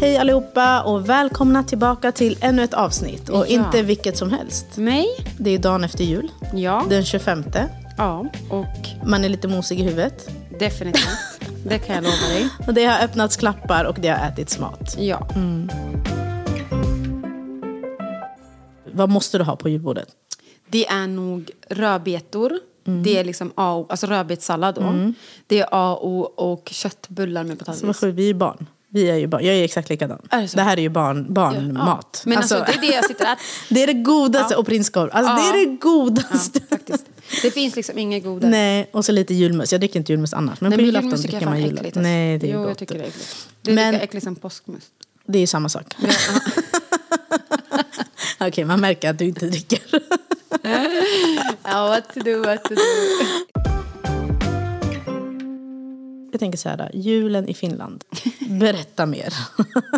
Hej allihopa och välkomna tillbaka till ännu ett avsnitt. Och Ja. inte vilket som helst. Nej. Det är dagen efter jul, Ja. den 25. Ja. Och Man är lite mosig i huvudet. definitivt. Det kan jag lova dig. Och det har öppnats klappar och det har ätits mat. Ja. Vad måste du ha på julbordet? Det är nog rödbetor. Det är liksom A och, alltså rödbetssallad då. Det är A och, och köttbullar med Så vad potatis. sjukt, vi är ju barn. Vi är ju barn. Jag är exakt likadan. Är det så? här är ju barn, barnmat. Ja. Men alltså, det är det jag sitter och äter. Det är det godaste, och prinskorv. Alltså, Ja. Det är det godaste. Ja, faktiskt. Det finns liksom inget godare. Nej, och så lite julmust. Jag dricker inte julmust annars. Men Nej, på men julafton julmust tycker dricker jag man fan är julmust. äckligt. alltså. Nej, det är jo, gott. jag tycker det är äckligt. Det är Men- lika äckligt som påskmust. Det är ju samma sak. Okej, man märker att du inte dricker. Ja, what to do, what to do. Jag tänker så här, julen i Finland. Berätta mer.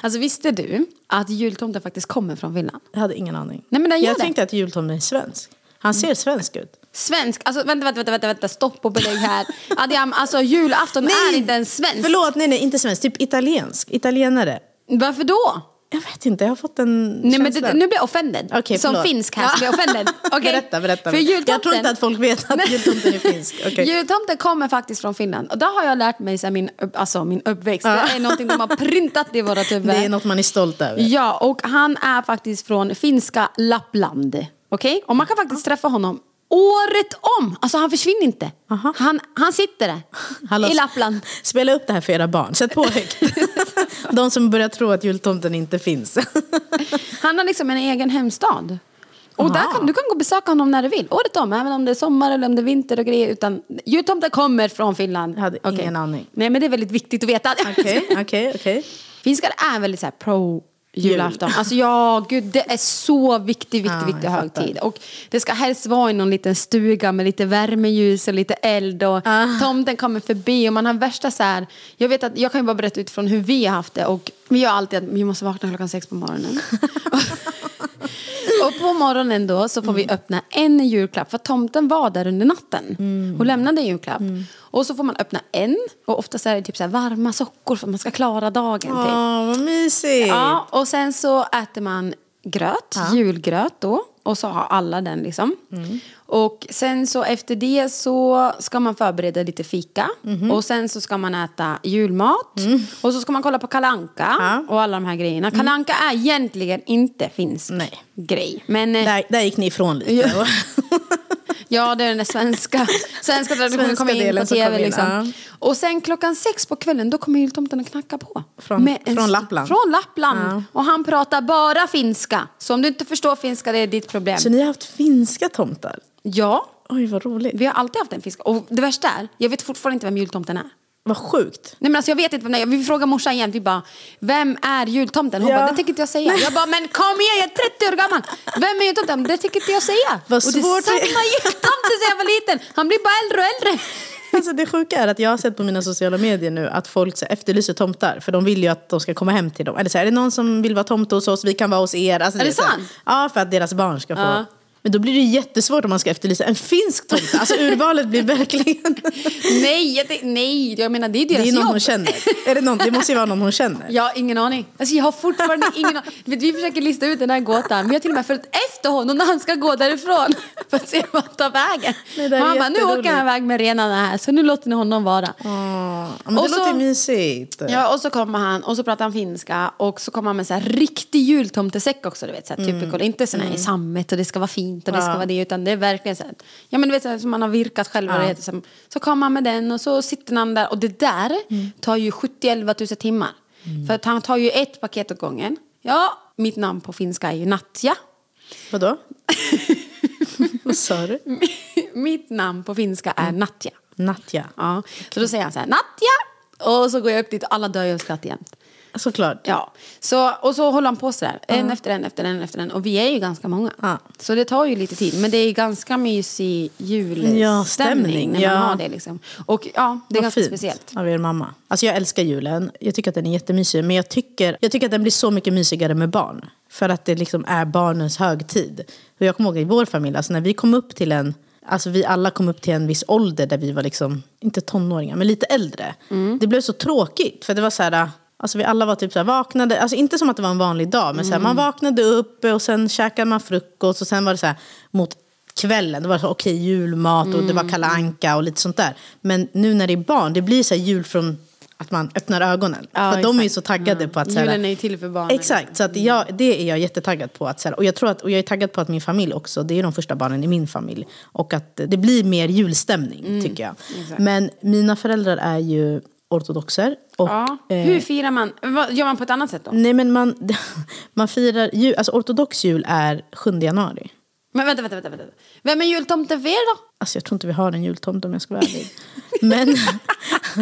Alltså visste du att jultomten faktiskt kommer från Finland? Jag hade ingen aning. Nej, men den gör jag det. Mm. tänkte att jultomten är svensk. Han ser svensk ut. Svensk, alltså vänta, vänta, vänta, vänta, stopp och belägg här. Adiam, alltså julafton är inte en svensk. Förlåt, nej, nej, inte svensk. Typ italiensk. Italienare. Varför då? Jag vet inte, jag har fått en Nej, men känsla. det, nu blir jag offended. Okej, Som förlåt. finsk här så blir jag offended. Okej? Berätta, berätta. För jultomten, Jag tror inte att folk vet att Nej. jultomten är finsk. Okej. Jultomten kommer faktiskt från Finland. Och det har jag lärt mig sen min, upp, alltså, min uppväxt. Det är någonting de har printat i våra huvuden. Det är något man är stolt över. Ja, och han är faktiskt från finska Lappland. Okej? Och man kan faktiskt träffa honom året om. Alltså han försvinner inte. Aha. Han, han sitter där. Hallå, I Lappland. Spela upp det här för era barn. Sätt på högt. De som börjar tro att jultomten inte finns. Han har liksom en egen hemstad. Och Aha. där kan, du kan gå och besöka honom när du vill. Året om, även om det är sommar eller om det är vinter och grejer. Utan, jultomten kommer från Finland. Jag hade Okej. ingen aning. Nej, men det är väldigt viktigt att veta. Okej, okej, okej. Finskar är väldigt så här pro julafton. Alltså ja, gud, det är så viktig, viktig, Ja, viktig jag högtid. Och det ska helst vara i någon liten stuga med lite värmeljus och lite eld och Ah. tomten kommer förbi och man har värsta så här, jag vet att, jag kan ju bara berätta utifrån hur vi har haft det och vi gör alltid att vi måste vakna klockan sex på morgonen. Och på morgonen då så får vi Mm. öppna en julklapp. För tomten var där under natten. Mm. Hon lämnade en julklapp. Och så får man öppna en. Och oftast är det typ så här varma sockor för att man ska klara dagen. Typ. Åh, vad mysigt. Ja, och sen så äter man gröt, julgröt då. Och så har alla den liksom. Mm. Och sen så efter det så ska man förbereda lite fika. Mhm. Och sen så ska man äta julmat. Och så ska man kolla på Kalanka Mm. Ja. Mm. och alla de här grejerna. Kalanka är egentligen inte finsk Nej. grej. Men eh, Där, där gick ni ifrån lite. Ja, det är den där svenska, svenska traditionen Svenska kommer in delen på som tv. kom in, liksom. ja. Och sen klockan sex på kvällen, då kommer jultomten att knacka på. Från- Med från st- Lappland. Från Lappland. Ja. Och han pratar bara finska. Så om du inte förstår finska, det är ditt problem. Så ni har haft finska tomtar? Ja, Oj, vad roligt. vi har alltid haft en finska. Och det värsta är, jag vet fortfarande inte vem jultomten är. Vad sjukt. Nej men alltså jag vet inte vem det är. Vi frågar morsan igen. Vi bara, vem är jultomten? Hon Ja. bara, det tänker inte jag säga. Jag bara, men kom igen, jag är 30 år gammal. Vem är jultomten? Det tänker inte jag säga. Vad och det är svårt. samma jultomte sen jag var liten. Han blir bara äldre och äldre. Alltså det sjuka är att jag har sett på mina sociala medier nu att folk så här efterlyser tomtar. För de vill ju att de ska komma hem till dem. Eller så här, är det någon som vill vara tomte hos oss? Vi kan vara hos er. Alltså, Är det vet, så här. sant? Ja, för att deras barn ska få. Ja. Men då blir det ju jättesvårt om man ska efterlysa en finsk tomte. Alltså urvalet blir verkligen... Nej, jag, tänk- nej, jag menar det är Det deras är någon jobb. hon känner. Är det, någon, det måste ju vara någon hon känner. Jag har ingen aning. Alltså jag har fortfarande ingen aning. Vet, Vi försöker lista ut den här gåtan. Vi har till och med följt efter honom när han ska gå därifrån. För att se vart han tar vägen. Nej, det är han bara, nu jätteroligt. åker han iväg med renarna här. Så nu låter ni honom vara. Ja, men det Och så- låter mysigt. Ja, och så kommer han och så pratar han finska och så kommer han med så här riktig jultomtesäck också. Du vet, så här, typical. Inte sån här i sammet och det ska vara fint och det ska vara det. Utan det är verkligen så här, ja men du vet så här, som man har virkat själv. och Det heter, som, så kommer han med den och så sitter han där. Och det där tar ju 70 000 timmar. För att han tar ju ett paket åt gången. Ja, mitt namn på finska är ju Natja. Vadå? Vad sa du? mitt namn på finska är Natja. Natja. Ja. Så då säger han så här, Natja! Och så går jag upp dit och alla dör ju av skratt jämt. Såklart. Ja, så, och så håller han på sådär. En efter en, efter en, efter en. Och vi är ju ganska många. Ja. Så det tar ju lite tid. Men det är ju ganska mysig julstämning Ja, stämning, när ja. man har det. Liksom. Och ja, det är Vad ganska fint speciellt. av er mamma. Alltså jag älskar julen. Jag tycker att den är jättemysig. Men jag tycker, jag tycker att den blir så mycket mysigare med barn. För att det liksom är barnens högtid. Och jag kommer ihåg i vår familj, alltså när vi kom upp till en Alltså vi alla kom upp till en viss ålder där vi var liksom, inte tonåringar, men lite äldre. Mm. Det blev så tråkigt, för det var så här, alltså vi alla var typ så här vaknade, alltså inte som att det var en vanlig dag, men så här, man Mm. vaknade upp och sen käkade man frukost och sen var det så här mot kvällen. Det var så, okej, julmat och Mm. det var Kalle Anka och lite sånt där. Men nu när det är barn, det blir så här jul från att man öppnar ögonen. för att de är ju exakt. Mm. så taggade på att... Så här, Julen är ju till för barnen. Exakt, så att jag, det är jag jättetaggad på. Att, så här, och, jag tror att, och jag är taggad på att min familj också, det är ju de första barnen i min familj. Och att det blir mer julstämning, Mm. tycker jag. Men mina föräldrar är ju ortodoxer. Och, Ja. eh, Mm. Hur firar man? Vad, gör man på ett annat sätt då? Nej men man, man firar jul, alltså ortodox jul är 7 januari. Men vänta, vänta, vänta. vänta. Vem är jultomten för er då? Alltså jag tror inte vi har en jultomte om jag ska vara ärlig. Men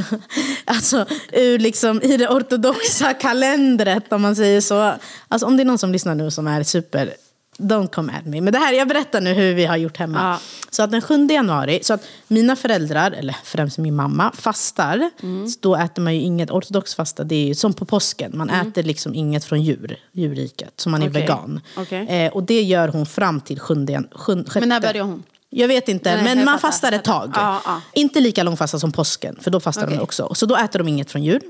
alltså ur liksom i det ortodoxa kalendret om man säger så. Alltså om det är någon som lyssnar nu som är super, don't come at me. Men det här, jag berättar nu hur vi har gjort hemma. Ja. Så att den 7 januari, så att mina föräldrar, eller främst min mamma, fastar. Mm. Så då äter man ju inget, ortodox fasta det är ju som på påsken. Man äter liksom inget från djur, djurriket. Så man är Mm. Okej. vegan. Okej. Eh, och det gör hon fram till 7, 7 Men när börjar hon? jag vet inte, Nej, men jag man fattar, fastar ett fattar. tag. Ja, ja. Inte lika lång fasta som påsken, för då fastar de Okej. Mm. också. Så då äter de inget från djur.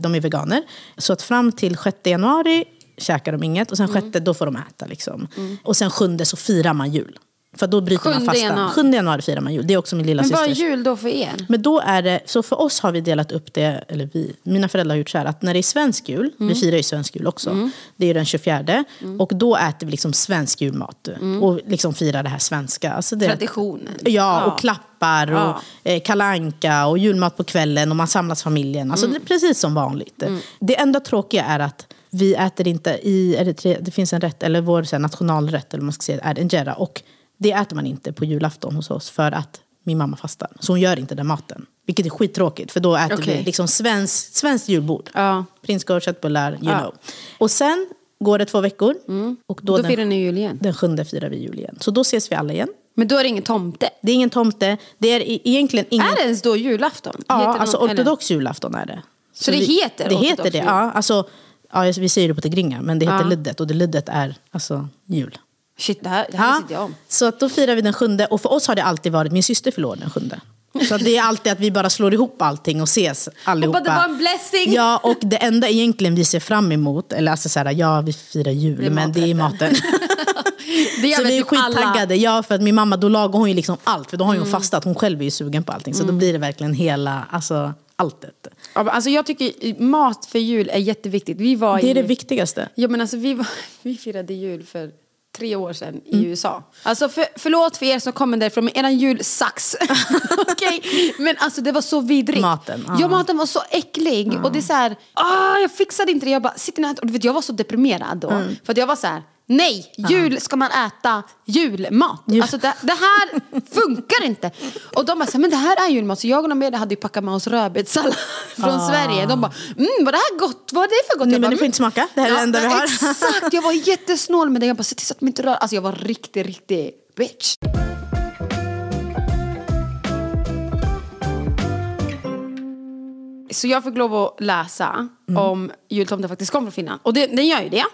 De är veganer. Så att fram till 6 januari käkar de inget och sen Mm. 6 då får de äta. Liksom. Och sen 7 så firar man jul. För då bryter man Sjunde fastan. januari. 7 januari firar man jul. Det är också min lilla Men vad är systers. jul då för er? Men då är det, så för oss har vi delat upp det, eller vi, mina föräldrar har gjort så här att när det är svensk jul, vi firar ju svensk jul också, det är ju den 24, och då äter vi liksom svensk julmat och liksom firar det här svenska. Alltså det, Traditionen. Ja, och klappar och Ja. eh, Kalle Anka och julmat på kvällen och man samlas familjen. Alltså Mm. det är precis som vanligt. Det enda tråkiga är att vi äter inte i Eritrea, det finns en rätt, eller vår så här, nationalrätt eller vad man ska säga, är injera. Och det äter man inte på julafton hos oss för att min mamma fastar. Så hon gör inte den maten. Vilket är skittråkigt för då äter vi Okej. liksom svensk, svenskt julbord. Ja. Prinskorv, köttbullar, you know. Och sen går det två veckor. Och då, Mm. Då den, firar ni jul igen. den sjunde firar vi jul igen. Så då ses vi alla igen. Men då är det ingen tomte. Det är ingen tomte. Det är e- egentligen ingen... Är det ens då julafton? Heter Ja, det alltså något- eller? ortodox julafton är det. Så det vi- heter Det ortodox heter det, jul? ja. Alltså, ja. Vi säger det på tigringar, men det heter Ja. luddet och det luddet är alltså jul. Shit, det här, det här Ja, visste inte jag om. Så att då firar vi den sjunde och för oss har det alltid varit, min syster fyller år den sjunde. Så att det är alltid att vi bara slår ihop allting och ses allihopa. det var en blessing! Ja, och det enda egentligen vi ser fram emot, eller alltså så här, ja vi firar jul, Det är men det är maten. Det gör så väl vi är typ alla. Mm. skittaggade. Ja, för att min mamma, då lagar hon ju liksom allt. För då har ju hon fastat. Hon själv är ju sugen på allting. Så då blir det verkligen hela, alltså alltet. Ja, men Alltså jag tycker mat för jul är jätteviktigt. Vi var Det är i, det viktigaste. ja, men alltså vi, var, vi firade jul för tre år sedan i Mm. USA. Alltså för, förlåt för er som kommer därifrån, men eran jul sucks. Okej? Men alltså det var så vidrigt. Maten, ja. ja. maten var så äcklig. Och det är så här, ah, jag fixade inte det. Jag bara, sitter ni och äter? Och du vet, jag var så deprimerad då. Mm. För att jag var så här, nej, jul ska man äta julmat. Jul- Alltså det, det här funkar inte. Och de bara, så här, men det här är julmat. Så jag och Amelia hade ju packat med oss rödbetssallad från Sverige. De bara, mm, var det här gott? Vad är det för gott? Ah. Nej, Jag men bara, du får "Mm." inte smaka. Det här är det enda vi men har. Exakt, jag var jättesnål med det. Jag bara, se till så att de inte rör. Alltså jag var riktig, riktig bitch. Så jag fick lov att läsa Mm. om jultomten faktiskt kom från Finland. Och det, den gör ju det.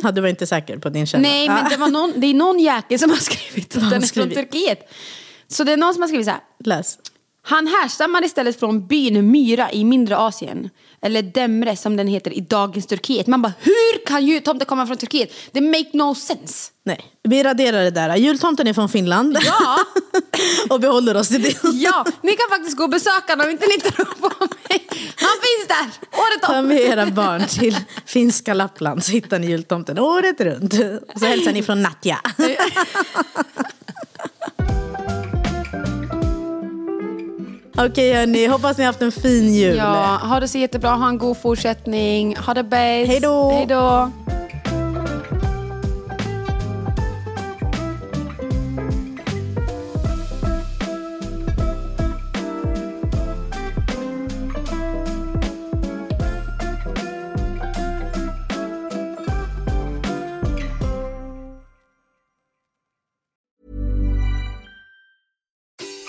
Ja, du var inte säker på din källa. Nej, men det, var någon, det är någon jäkel som har skrivit att har den är från skrivit? Turkiet. Så det är någon som har skrivit så här. Läs. Han härstammar istället från byn Myra i mindre Asien. Eller Demre som den heter i dagens Turkiet. Man bara, hur kan jultomten komma från Turkiet? Det make no sense. Nej, vi raderar det där. Jultomten är från Finland. Ja. och behåller oss till det. Ja, ni kan faktiskt gå och besöka honom om inte ni tror på mig. Han finns där, året Ta om. med era barn till finska Lappland så hittar ni jultomten året runt. Och så hälsar ni från Natja. Okej hörni, hoppas ni har haft en fin jul. Ja, ha det så jättebra. Ha en god fortsättning. Ha det bäst. Hej då. Hej då.